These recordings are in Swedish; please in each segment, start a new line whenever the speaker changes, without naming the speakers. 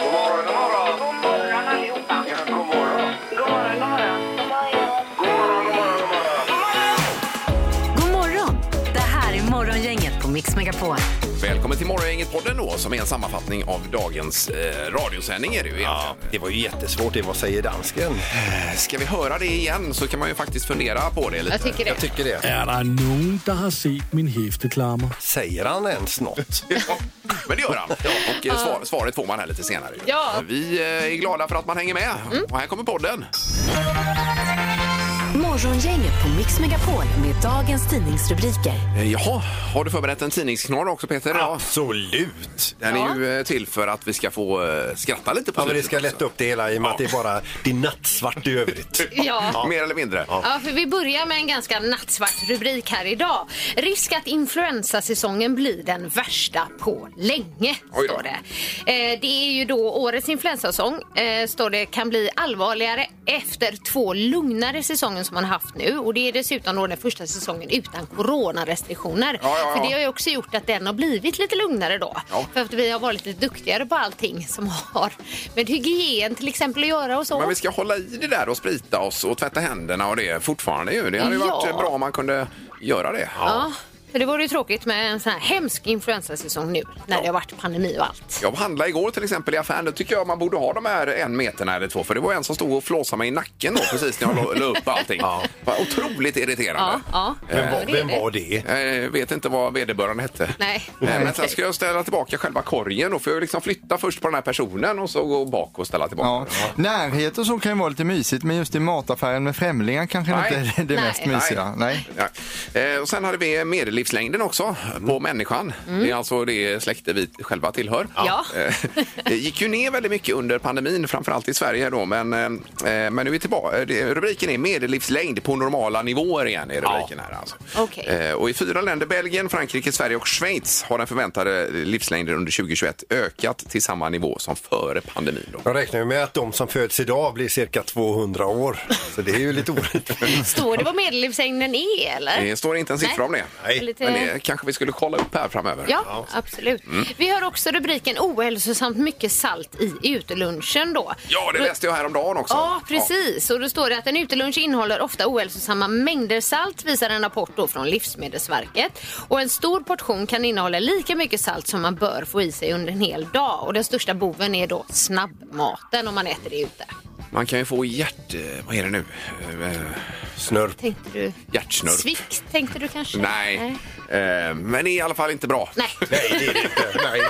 God morgon, god morgon.
God morgon allihopa.
Ja, god morgon.
God morgon, god morgon. God morgon.
God morgon, god morgon, god morgon.
God morgon! Det här är Morgongänget på Mix Megapol.
Välkommen till Morgongänget-podden då, som är en sammanfattning av dagens eh, radiosändning är det ju ja.
Det var ju jättesvårt det. Vad säger dansken?
Ska vi höra det igen så kan man ju faktiskt fundera på det lite.
Jag tycker det.
Jag tycker det.
Er der nogen, der har set min hæfteklammer?
Säger han ens något?
Ja, Men det gör han. Ja, och eh, svar, svaret får man här lite senare. ju.
Ja. Mm.
Vi eh, är glada för att man hänger med. Och här kommer podden.
Morgongänget på Mix Megapol med dagens tidningsrubriker.
Eh, Jaha, har du förberett en tidningsknorr också Peter? Ja.
Absolut!
Den är ju eh, till för att vi ska få eh, skratta lite på
Ja, men det
slutet
ska
också.
lätta upp det hela i och med att det är bara det är nattsvart i övrigt.
Ja.
Mer eller mindre.
Ja, för vi börjar med en ganska nattsvart rubrik här idag. Risk att influensasäsongen blir den värsta på länge,
Oj då.
står det. Eh, det är ju då årets influensasäsong, eh, står det, kan bli allvarligare efter två lugnare säsonger som man haft nu. Och det är dessutom då den första säsongen utan coronarestriktioner.
Ja, ja, ja.
För det har ju också gjort att den har blivit lite lugnare då.
Ja.
För att vi har varit lite duktigare på allting som har med hygien till exempel att göra och så.
Men vi ska hålla i det där och sprita oss och tvätta händerna och det fortfarande ju. Det hade ju varit
Ja.
eh, bra om man kunde göra det.
Ja, för det vore ju tråkigt med en sån här hemsk influensasäsong nu när det har varit pandemi och allt.
Jag handlade igår till exempel i affären. Då tycker jag man borde ha de här en meterna eller två. För det var en som stod och flåsade mig i nacken då precis när jag la- la upp allting. Var Otroligt irriterande.
Ja, ja.
Vem var,
det är
vem
det.
var det?
Eh, vet inte vad vederbörande hette.
Nej.
Eh, Men sen ska jag ställa tillbaka själva korgen. Då får jag liksom flytta först på den här personen och så gå bak och ställa tillbaka.
Ja. Närhet och så kan ju vara lite mysigt men just i mataffären med främlingar kanske
Nej.
inte är det
Nej.
mest mysiga. Nej.
Ja. Eh, och sen hade vi medellivslängden också
Mm.
på människan. Det är alltså det släkte vi själva tillhör.
Ja.
Eh, Det gick ju ner väldigt mycket under pandemin, framförallt i Sverige då, men, eh, men nu är vi tillbaka. Rubriken är medellivslängd på normala nivåer igen i rubriken här alltså.
Okej.
Eh, Och i fyra länder, Belgien, Frankrike, Sverige och Schweiz har den förväntade livslängden under 2021 ökat till samma nivå som före pandemin. Då.
De räknar ju med att de som föds idag blir cirka 200 år. Så det är ju lite orättvist.
Står det vad medellivslängden är eller?
Det står inte en siffra om det.
Nej.
Lite-
Men det Mm. kanske vi skulle kolla upp här framöver.
Ja, absolut. Vi har också rubriken ohälsosamt mycket salt i utelunchen då.
Ja, det läste jag häromdagen också.
Ja, precis. Och då står det att en utelunch innehåller ofta ohälsosamma mängder salt visar en rapport då från Livsmedelsverket. Och en stor portion kan innehålla lika mycket salt som man bör få i sig under en hel dag. Och den största boven är då snabbmaten om man äter det ute.
Ja, Man kan ju få hjärt... eh, Vad är det nu? Eh,
Snörp.
Tänkte du?
Hjärtsnörp.
Svikt tänkte du kanske?
Nej. Eh, Men det är i alla fall inte bra.
Nej.
Nej, det är det inte. Nej.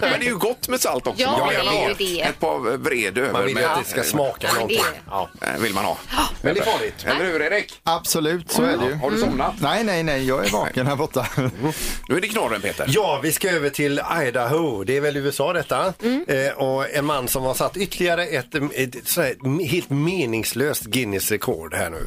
Men det är ju gott med salt också.
Ja,
Man vill
det
gärna
är ju
ha
det.
Ett par eh, vred över.
Man vill ju
med-
att det ska smaka
Ja,
någonting.
det är det.
Ja.
Eh, Vill man ha.
Men det är farligt.
Eller hur Erik?
Absolut, så är det ju.
Har
Mm.
du somnat?
Nej, nej, nej, jag är vaken här borta.
Nu är det knorren Peter.
Ja, vi ska över till Idaho. Det är väl USA detta. Eh, och en man som har satt ytterligare ett, ett, sådär helt meningslöst Guinness-rekord här nu.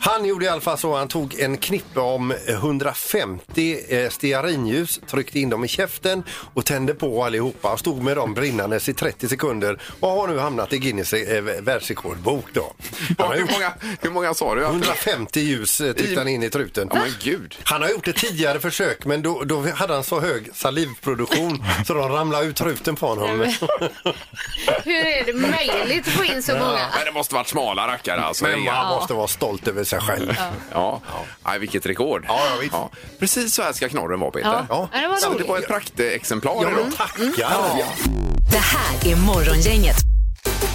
Han gjorde i alla fall så, han tog en knippe om 150 eh, stearinljus, tryckte in dem i käften och tände på allihopa. Och stod med dem brinnandes i 30 sekunder och har nu hamnat i Guinness eh, världsrekordbok då. Han har
Hur
gjort
många, hur många sa du?
150 ljus eh, tryckte han in i truten.
Ja, men gud.
Han har gjort ett tidigare försök men då, då hade han så hög salivproduktion så de ramlade ut truten på honom.
Hur är det möjligt att få in så många?
Men det måste varit smala rackare alltså.
Men
Inga-
man måste vara stolt över sig själv.
Ja. Aj, vilket rekord.
Ja, ja, visst.
Precis så här ska knorren vara Peter.
Ja. Ja, det var
Så det
roligt.
var ett praktexemplar
Ja,
idag.
men tackar!
Det här är Morgongänget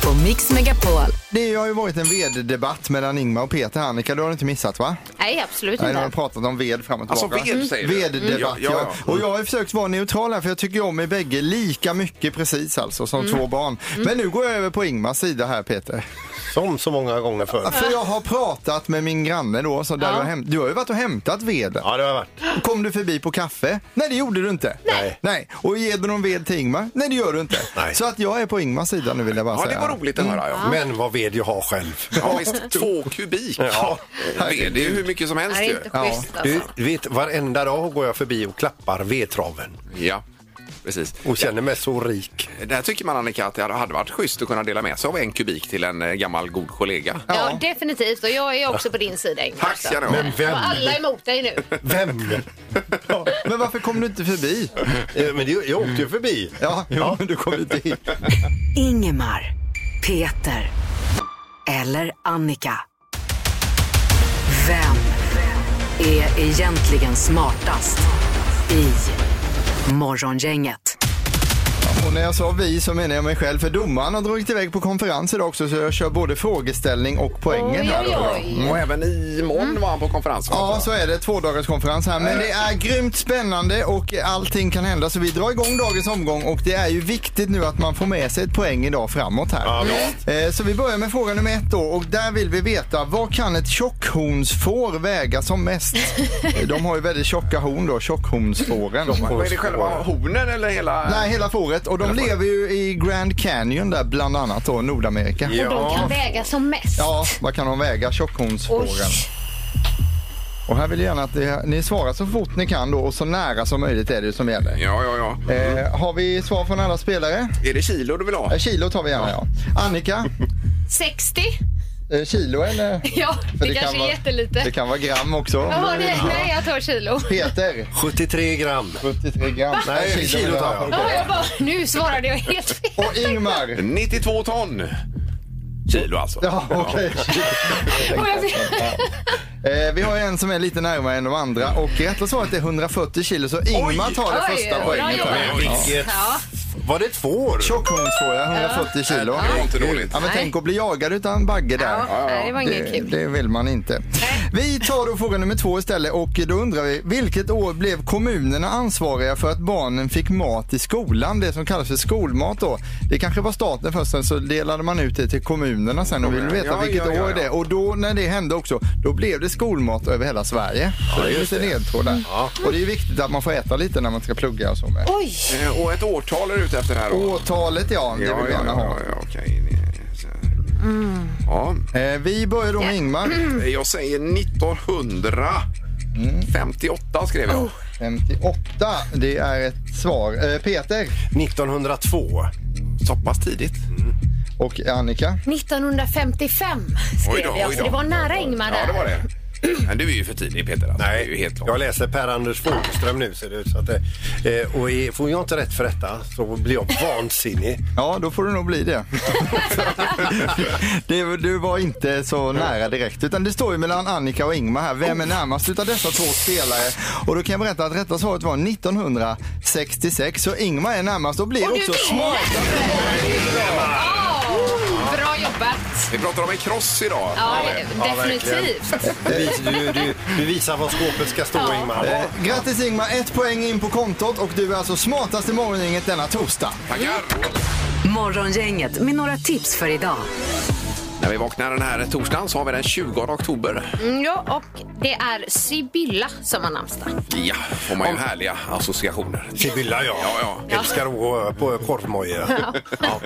på Mix Megapol.
Det har ju varit en veddebatt mellan Ingmar och Peter här. Annika, du har inte missat va?
Nej, absolut
Nej, de har
inte.
pratat om ved fram och
Alltså,
tillbaka.
ved, säger du?
Veddebatt,
Mm. Ja, ja,
ja,
ja.
Och jag har ju försökt vara neutral här för jag tycker ju om er bägge lika mycket precis alltså som
Mm.
två barn. Men nu går jag över på Ingmars sida här Peter.
Som så många gånger förr.
För jag har pratat med min granne då, så där
Ja.
du, har hämt, du har ju varit och hämtat ved.
Ja, det har jag varit.
Kom du förbi på kaffe? Nej, det gjorde du inte.
Nej.
Nej. Och ger du någon ved till Ingmar? Nej, det gör du inte.
Nej.
Så att jag är på Ingmars sida nu vill jag bara
Ja, det
säga.
var roligt
Mm.
att höra. Ja.
Men vad ved jag har själv.
Ja, visst, två kubik.
Ja.
Ved, det är ju hur mycket som
Nej,
helst
det är
ju.
inte schysst alltså.
Du vet, varenda dag går jag förbi och klappar vedtraven.
Ja. precis. Eh,
och känner mig så rik.
Där tycker man Annika att det hade varit schysst att kunna dela med sig av en kubik till en eh, gammal god kollega.
Ja, definitivt. Och jag är också på din sida, Ingmar.
Tack ska ni ha.
Men vem?
Och alla är emot dig nu.
Vem?
Ja, Men varför kom du inte förbi?
Eh, Men det, jag åkte ju förbi.
Ja, ja. men du kom inte hit.
Ingemar, Peter eller Annika. Vem är egentligen smartast i Morgongänget?
Och när jag sa vi så menar jag mig själv för domaren har dragit iväg på konferens idag också så jag kör både frågeställning och poängen
Oj,
här.
oj,
då.
oj.
Och även imorgon var han på konferens. va?
Ja, så är det. Två dagars konferens här. Men det är grymt spännande och allting kan hända. Så vi drar igång dagens omgång och det är ju viktigt nu att man får med sig ett poäng idag framåt här. Eh, Så vi börjar med fråga nummer ett då och där vill vi veta vad kan ett tjockhornsfår väga som mest? Eh, De har ju väldigt tjocka horn då, tjockhornsfåren.
Vad är det själva hornen eller hela?
Nej, hela fåret. Och de lever ju i Grand Canyon där bland annat då, Nordamerika.
Och de kan väga som mest.
Ja, vad kan de väga, tjockhornsfåren?
Oj.
Och här vill jag gärna att det, ni svarar så fort ni kan då och så nära som möjligt är det ju som gäller.
Ja, ja, ja.
Eh, har vi svar från alla spelare?
Är det kilo du vill ha?
Eh, kilo tar vi gärna ja. Annika,
60?
eh, kilo eller?
Ja,
För
det, kanske är jättelite.
Det kan vara gram också.
Jaha, det, nej, jag tar kilo.
Peter,
73 gram.
73 gram.
Nej, kilo
menar
tar jag.
Okej.
Ja, jag bara, nu svarade jag helt fel.
Och Ingmar.
92 ton kilo alltså.
Ja, okej.
Och jag fick-
Eh, vi har ju en som är lite närmare än de andra och rätta svaret är 140 kilo så Ingmar tar det
Oj,
första
bra
poängen.
jobbat.
här.
Vilket...
Ja.
Var det två år?
Tjockhornsfåra, 140 kilo.
Det var inte dåligt.
Ja, men tänk att bli jagad utan en bagge där.
Ja, nej, det var inget
Det,
kul.
det vill man inte. Vi tar då fråga nummer två istället och då undrar vi vilket år blev kommunerna ansvariga för att barnen fick mat i skolan? Det som kallas för skolmat då. Det kanske var staten först sen så delade man ut det till kommunerna sen och vill veta
Ja,
vilket
ja, ja,
år det är. Och då när det hände också, då blev det skolmat över hela Sverige. Så det är lite ledtråd
Mm.
där. Och det är viktigt att man får äta lite när man ska plugga och så med.
Oj,
Eh, Och ett årtal är du ute efter här då?
Årtalet ja, det vill
ja,
vi
ja,
gärna ha.
ja, ja, okej. Ni- så- Ja,
Eh, Vi börjar då med Ingmar.
jag säger 1958 skrev jag.
Oh.
58, det är ett svar. Eh, Peter
1902.
Så pass tidigt.
och Annika.
1955
Oj
skrev
då,
jag,
oj
så
då.
det var nära Ingmar
Ja, det var
där.
det. Men du är ju för tidig Peter. Alltså. Det är ju helt
jag
klart.
läser Per-Anders Fogelström nu ser det ut. Så att, det- eh, och i- får jag inte rätt för detta så blir jag vansinnig.
Ja, då får det nog bli det. det. Du var inte så nära direkt. Utan det står ju mellan Annika och Ingmar här. Vem är närmast utav dessa två spelare? Och då kan jag berätta att rätta svaret var 1966. Så Ingmar är närmast och blir
Och du
också
vinner!
smart.
Åh, Bra jobbat.
Vi pratar om en kross idag.
Ja,
Ja,
definitivt.
Du, vis- du, du, du visar var skåpet ska stå, Ingmar.
Eh, Grattis Ingmar, ett poäng in på kontot och du är alltså smartast i morgongänget denna torsdag.
Tackar!
Morgongänget med några tips för idag.
När vi vaknar den här torsdagen så har vi den 20 oktober.
Mm, ja, och det är Sibylla som har namnsdag.
Ja, får man ju härliga associationer.
Sibylla, ja.
Ja,
ja. Älskar att gå på korvmoja. Ja.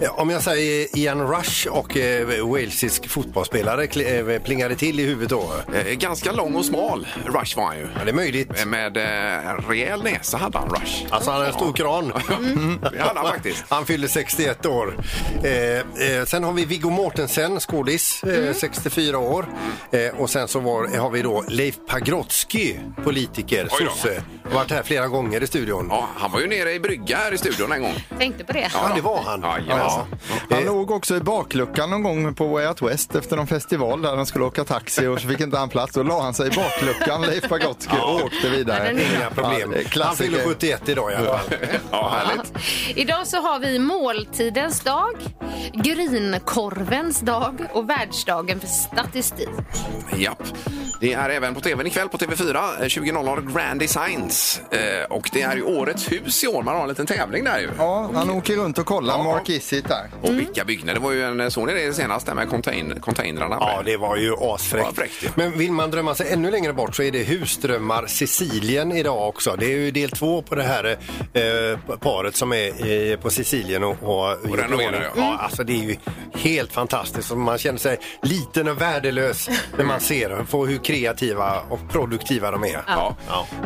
Eh, Om jag säger Ian Rush och eh, walesisk fotbollsspelare kli- eh, plingar det till i huvudet då.
Eh, Ganska lång och smal Rush var han ju.
Ja, det är möjligt.
Eh, Med eh, en rejäl näsa hade han Rush.
Alltså han är en stor kran.
Mm.
Det hade han faktiskt.
Han fyller 61 år. Eh, eh, sen har vi Viggo Mortensen, skådis, eh, 64 år. Eh, och sen så var, har vi då Leif Pagrotsky, politiker,
Oj då.
sosse. Har Varit här flera gånger i studion.
Ja, han var ju nere i brygga här i studion en gång.
Tänkte på det.
det var han.
Ja, ja.
Han
Eh,
låg också i bakluckan någon gång på Way Out West efter någon festival där de skulle åka taxi och så fick inte han plats. Då la han sig i bakluckan, Leif Pagrotsky, och åkte vidare.
Inga problem.
Ja, det är
han
klassiker.
fyller 71 idag i alla fall.
ja härligt.
Idag så har vi måltidens dag, grynkorvens dag och världsdagen för statistik.
Japp. Det är även på tvn ikväll på TV4, eh, 20.00 Grand Designs. Eh, och det är ju årets hus i år, man har en liten tävling där ju.
Ja, han åker runt och kollar
Ja.
Mark Isitt där.
Mm.
Och vilka byggnader, det var ju en, eh, såg ni det senast där med contain, containrarna?
Ja, det var ju
Ja,
asfräckt.
fräckt, ja.
Men vill man drömma sig ännu längre bort så är det Husdrömmar Sicilien idag också. Det är ju del två på det här eh, paret som är eh, på Sicilien och, och,
Och renoverar, ja.
ja. Alltså det är ju helt fantastiskt. Och Man känner sig liten och värdelös när man ser på hur kreativa och produktiva de är.
Ja.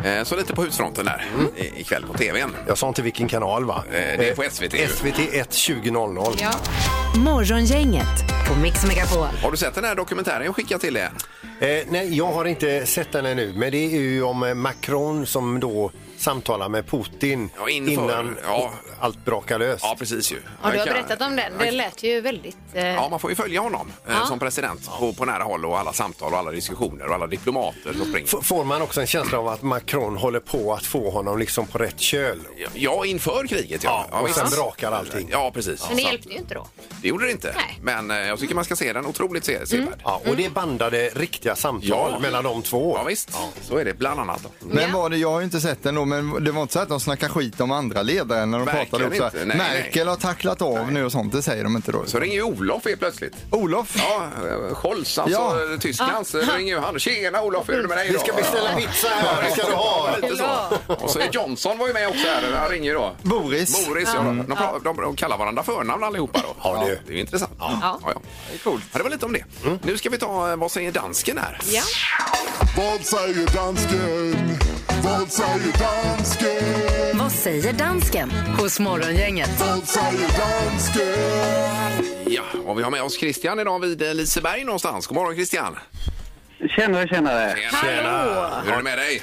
Eh, Så lite på husfronten där
Mm.
i- ikväll på tvn.
Jag sa inte vilken kanal va?
Eh, det är på SVT.
SVT 1 2000.
Ja.
Morgongänget på Mix Megapol.
Har du sett den här dokumentären jag skickade till dig?
Eh, nej, jag har inte sett den ännu, men det är ju om eh, Macron som då samtalar med Putin
Ja, inför.
innan
Ja.
allt brakar lös.
Ja, precis ju.
Ja, du
Jag
har
kan-
berättat om den. Det
Jag-
lät ju väldigt... Eh,
Ja, man får ju följa honom eh, som president på, på nära håll och alla samtal och alla diskussioner och alla diplomater som springer.
F- Får man också en känsla av att Macron håller på att få honom liksom på rätt köl?
Ja, inför kriget ja.
Ja,
ja
och
visst.
sen brakar allting.
Ja, precis.
men det
Så att-
hjälpte ju inte då.
det gjorde det inte.
Nej. Mm.
Men eh, jag tycker man ska se den. Otroligt se- sevärd.
Ja, och det är bandade riktiga samtal
Mm. Ja.
mellan de två.
Ja, visst. Så är det bland annat. Då.
Men
Ja.
var det, jag har ju inte sett den då, men det var inte så att de snackade skit om andra ledare när de
Verkligen
pratade upp så
inte.
här,
Nej, nej.
Merkel har tacklat av nu och sånt, det säger de inte då.
Så ringer ju Olof helt plötsligt.
Olof?
Ja, eh, Scholz, alltså
Ja.
ja. Tysklands, eh, ringer ju han. Tjena Olof, hur är det med dig
Vi ska
då?
beställa pizza här, det ska du ha.
Lite så. Och så är Johnson var ju med också här, han ringer ju då.
Boris.
Boris, ja.
Mm.
De, pra- de, de kallar varandra förnamn allihopa då.
Ja, du.
Det är ju intressant. Ja.
Ja.
Det, är coolt. Ja, det var lite om det. Nu ska vi ta eh, Vad säger dansken här?
Ja.
Vad säger dansken? Vad säger dansken?
Vad säger dansken hos Morgongänget?
Vad säger dansken?
Ja, och vi har med oss Christian idag vid eh, Liseberg någonstans. God morgon Christian!
Tjenare, tjenare.
Tjena.
Hallå!
Hur är det med dig?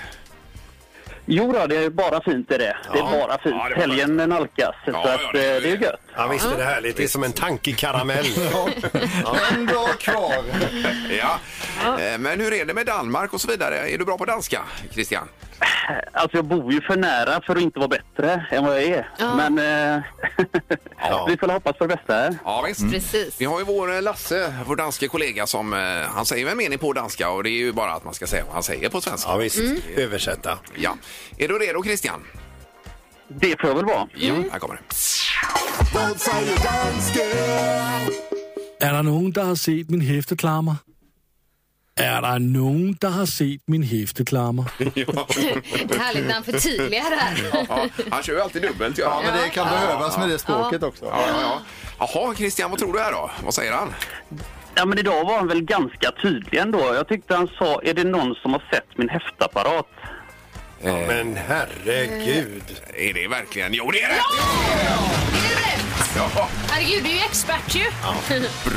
Jo då, det är bara fint är det. Det är bara fint.
Ja, det var
Helgen nalkas, så
Ja,
att,
ja,
eh,
det-
det, är gött.
Ja, visst är det härligt. Det är som en tankekaramell.
En dag kvar.
Ja. Eh, Men hur är det med Danmark och så vidare? Är du bra på danska, Christian?
Alltså jag bor ju för nära för att inte vara bättre än vad jag är.
Ja.
Men eh, vi får hoppas på det bästa.
Ja, visst.
Precis.
Vi har ju vår eh, Lasse, vår danske kollega, som eh, han säger en mening på danska och det är ju bara att man ska säga vad han säger på svenska.
Ja, visst.
Mm.
Översätta.
Ja. Är du redo Christian?
Det får jag väl vara.
Ja, här kommer det.
Vad säger dansken?
Er der nogen, der har set min hæfteklammer? Er der nogen, der har set min hæfteklammer?
Härligt när han förtydligar här.
Ja, han kör ju alltid dubbelt. Ja.
Ja, men det kan behövas med det språket också.
Ja, ja, ja. Jaha, Christian, vad tror du här då? Vad säger han?
Ja, men idag var han väl ganska tydlig ändå. Jag tyckte han sa, är det någon som har sett min häftapparat?
Men herregud.
Eh, Är det verkligen... Jo, det är rätt! Ja,
Herregud, du är ju expert ju.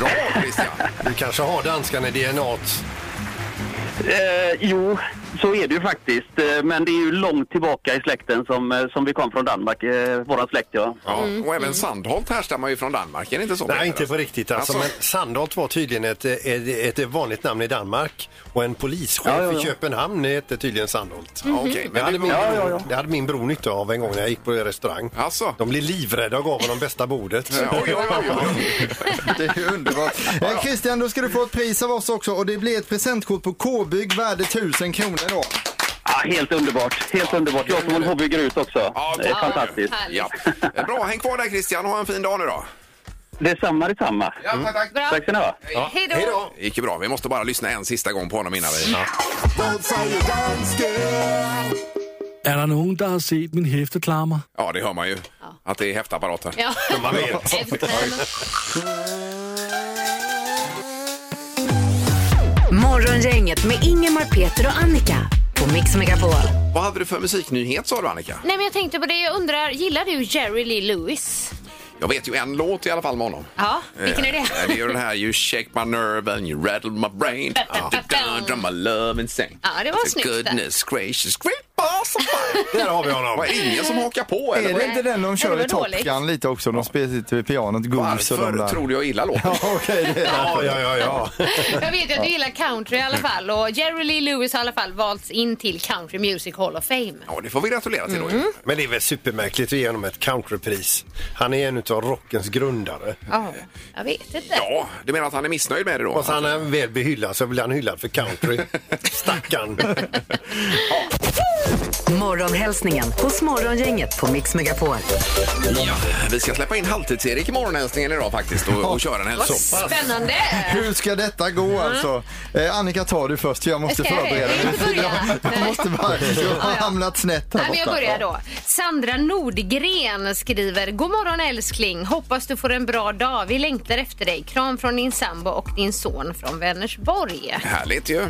bra Christian!
Du kanske har danskan i DNA. t.
Eh, jo, så är det ju faktiskt. Eh, men det är ju långt tillbaka i släkten som, eh, som vi kom från Danmark, eh, våran släkt ja.
Ja. Och även Sandholt härstammar ju från Danmark, är det inte så? Peter?
Nej, inte på riktigt alltså. Men
Alltså,
Sandholt var tydligen ett, ett, ett vanligt namn i Danmark. Och en polischef
Ja, ja, ja.
i Köpenhamn hette tydligen Sandholt.
Mm. ja,
Mhm.
Okej,
Det
men
hade,
det...
min,
Ja, ja, ja.
det hade min bror nytta av en gång när jag gick på restaurang.
Alltså.
De blev livrädda och gav honom bästa bordet.
Oj, oj, oj, oj.
Det är ju underbart. Eh, Christian, då ska du få ett pris av oss också och det blir ett presentkort på K-bygg värde 1000 kronor då.
Ah, helt underbart, helt underbart. Jag som håller på att bygga ut också.
Ja,
det är
tack.
fantastiskt.
Härligt.
Ja. Bra, häng kvar där Christian och ha en fin dag nu då.
Detsamma, detsamma.
Ja, tack, tack.
Bra.
Tack ska ni ha.
Hej
Hej
då.
då!
Det gick ju bra. Vi måste bara lyssna en sista gång på honom innan vi...
Vad säger dansken?
Er der nogen, der har set min hæfteklammer?
Ja, det hör man ju. Att det är häftapparaten.
Ja.
Man vet.
Efterträdarna.
Morgongänget med Ingemar, Peter och Annika på Mix Megapol.
Vad hade du för musiknyhet sa du Annika?
Nej, men jag tänkte på det. Jag undrar, gillar du Jerry Lee Lewis?
Jag vet ju en låt i alla fall med honom.
Ja, vilken är
Eh,
det?
Det är ju den här You shake my nerve and you rattle my brain. Dun-dun-dun, my love insane.
Ja, det var
It's a
snyggt där.
Goodness gracious, great balls of fire.
Där har vi
Det
honom.
var ingen som hakar på
Är
eller?
det inte den de
det
kör
var
i Top
dåligt.
Gun lite också? De spelar sitter vid pianot, Goose och de
Varför
där.
tror du jag gillar låten?
Ja, okej, det är
Ja,
därför.
ja, ja, ja.
Jag vet ju att du gillar country i alla fall och Jerry Lee Lewis har i alla fall valts in till Country Music Hall of Fame.
Ja, det får vi gratulera till då.
Mm.
ju.
Men det är väl supermärkligt att ge honom ett countrypris. Han är en av rockens grundare.
Ja, jag vet inte.
Ja, du menar att han är missnöjd med det då?
Och så han är väl behyllad så blir han hyllad för country. Stackarn.
Morgonhälsningen hos Morgongänget på Mix Megapol.
Ja, vi ska släppa in Halvtids-Erik i morgonhälsningen idag faktiskt och, och köra en hälsning.
Spännande!
Hur ska detta gå alltså? Eh, Annika, tar du först för jag måste
Mm. Ska jag-
förbereda
jag
mig.
inte börja?
Jag måste bara, jag har
Ja, ja.
hamnat snett här
Nej, men jag
borta.
börjar då. Sandra Nordgren skriver God morgon älskling, hoppas du får en bra dag. Vi längtar efter dig. Kram från din sambo och din son från Vänersborg.
Härligt ju.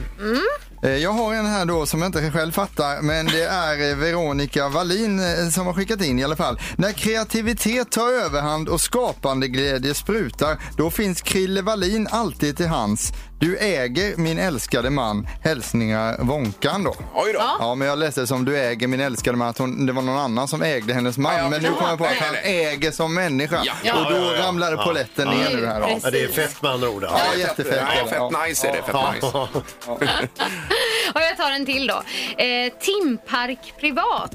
Eh, Jag har en här då som jag inte själv fattar, men det är eh, Veronica Wallin eh, som har skickat in i alla fall. När kreativitet tar överhand och skapande glädje sprutar, då finns Krille Wallin alltid till hands. Du äger min älskade man. Hälsningar Vonkan då.
Oj då.
Ja, men jag läste det som du äger min älskade man, att hon, det var någon annan som ägde hennes man.
Ja, jag
men nu
förstår.
kom jag på att
Nej,
han
nej.
äger som människa.
Ja.
Och då
Ja, ja, ja.
ramlade
Ja.
polletten
Ja.
ner nu här. då.
Ja, det är fett med andra ord. alltså.
Ja, jättefett.
Ja, fett nice är det. Fett nice.
Ja.
Och jag tar en till då. Eh, Timpark privat.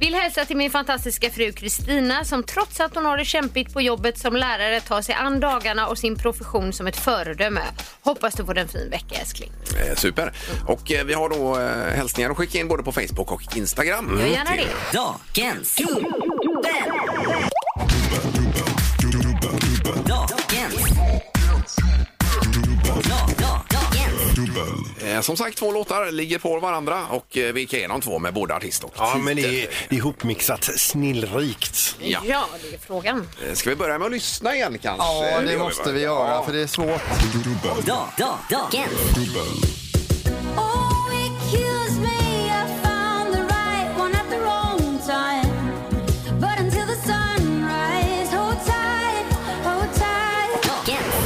Vill hälsa till min fantastiska fru Kristina som trots att hon har det kämpigt på jobbet som lärare tar sig an dagarna och sin profession som ett föredöme. Hoppas du får en fin vecka älskling.
Eh, Super. Och eh, vi har då eh, hälsningar att skicka in både på Facebook och Instagram.
Gör gärna det.
Dagens dubbel. Dagens. Da- da- dagens.
Eh, Som sagt, två låtar ligger på varandra och eh, vi gick igenom två med både artist och
Ja,
titel.
men det är det är ihopmixat snillrikt.
Ja.
Ja, det är frågan.
Eh, Ska vi börja med att lyssna igen kanske?
Ja,
gör
det måste
va?
vi göra, för det är svårt.
Da- da- dagens.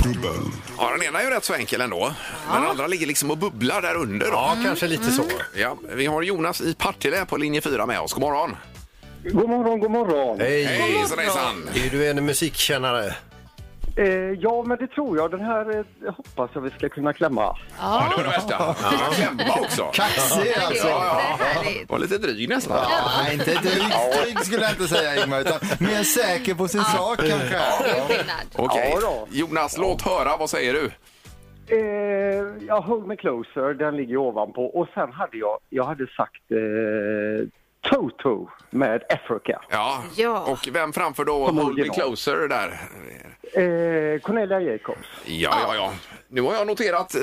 Dagens.
Ja, den ena är ju rätt så enkel ändå. Men den andra ligger liksom och bubblar där under. Då.
Ja, kanske lite
Mm.
så.
Ja, vi har Jonas i Partille på linje 4 med oss. God morgon!
God morgon, god morgon.
Hej!
Hejsan, hejsan!
Är du en musikkännare?
ja, men det tror jag. Den här hoppas jag vi ska kunna klämma.
Ja, det var det värsta. Ja. Klämma också.
Kaxig alltså.
Ja, ja.
Härligt.
Var lite dryg nästan. Ja.
Nej, inte drygt trygg skulle jag inte säga Ingmar, utan mer säker på sin sak kanske.
Det är skillnad.
Okej.
Ja, då.
Jonas, låt höra. Vad säger du?
Eh, jag höll med Closer, den ligger ovanpå. Och sen hade jag, jag hade sagt eh, Toto med Africa.
Ja.
Ja.
Och vem framför då
Kom
Hold Me
original.
Closer där?
Eh, Cornelia Jacobs.
Ja, ja, ja. Nu har jag noterat eh,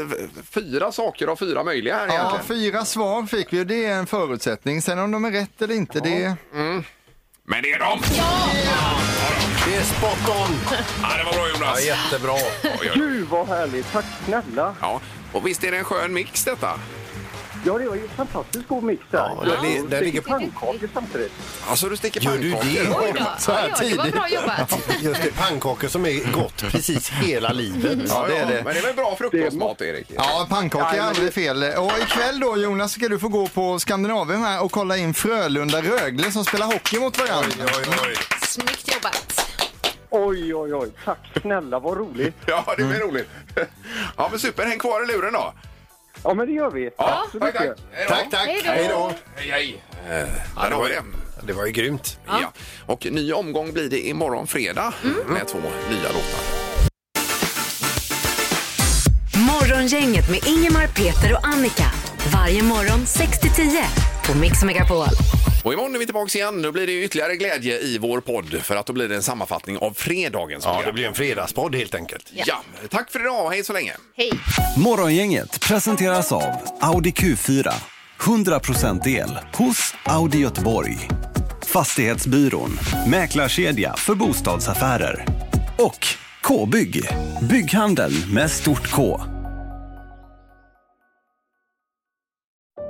fyra saker av fyra möjliga här
Ja,
egentligen.
fyra svar fick vi och det är en förutsättning. Sen om de är rätt eller inte, det...
Men det är dem!
Det är spot on!
Ja, det var bra
Ja,
Jonas.
jättebra.
Oj, oj.
Gud vad härligt, tack snälla.
Ja, och visst är det en skön mix detta?
Ja, det var ju en fantastiskt god mix där.
Ja, den li- den
Det är
ligger-
pannkakor samtidigt.
Alltså du sticker
Gör du
pannkakor.
det?
Oj då.
Så här
Ja, ja, det var
tidigt.
bra jobbat.
Just det, pannkakor som är gott precis hela livet.
Ja,
det är
ja,
det.
Men det är väl bra frukostmat, Erik?
Ja, pannkaka är aldrig fel. Och ikväll då Jonas ska du få gå på Skandinavien här och kolla in Frölunda-Rögle som spelar hockey mot varandra.
Snyggt jobbat.
Oj, oj, oj. Tack snälla, vad roligt.
Ja, det blir
Mm.
roligt. Ja, men super. Häng kvar i luren då.
Ja, men det gör vi.
Ja,
så
tack, tack.
mycket.
Hej då.
Tack, tack!
Hej då.
Hej då!
Hej, hej. Eh, Där har vi det.
Det var ju grymt.
Ja. Och ny omgång blir det imorgon fredag
Mm.
med två nya låtar.
Morgongänget med Ingemar, Peter och Annika. Varje morgon 6 till 10 på Mix Megapol.
Och imorgon är vi tillbaka igen. Nu blir det ju ytterligare glädje i vår podd för att då blir det en sammanfattning av fredagens
Ja, det blir en fredagspodd helt enkelt.
Ja, tack för idag. Hej så länge.
Hej.
Morgongänget presenteras av Audi Q4. 100% el hos Audi Göteborg. Fastighetsbyrån. Mäklarkedja för bostadsaffärer. Och K-bygg. Bygghandeln med stort K.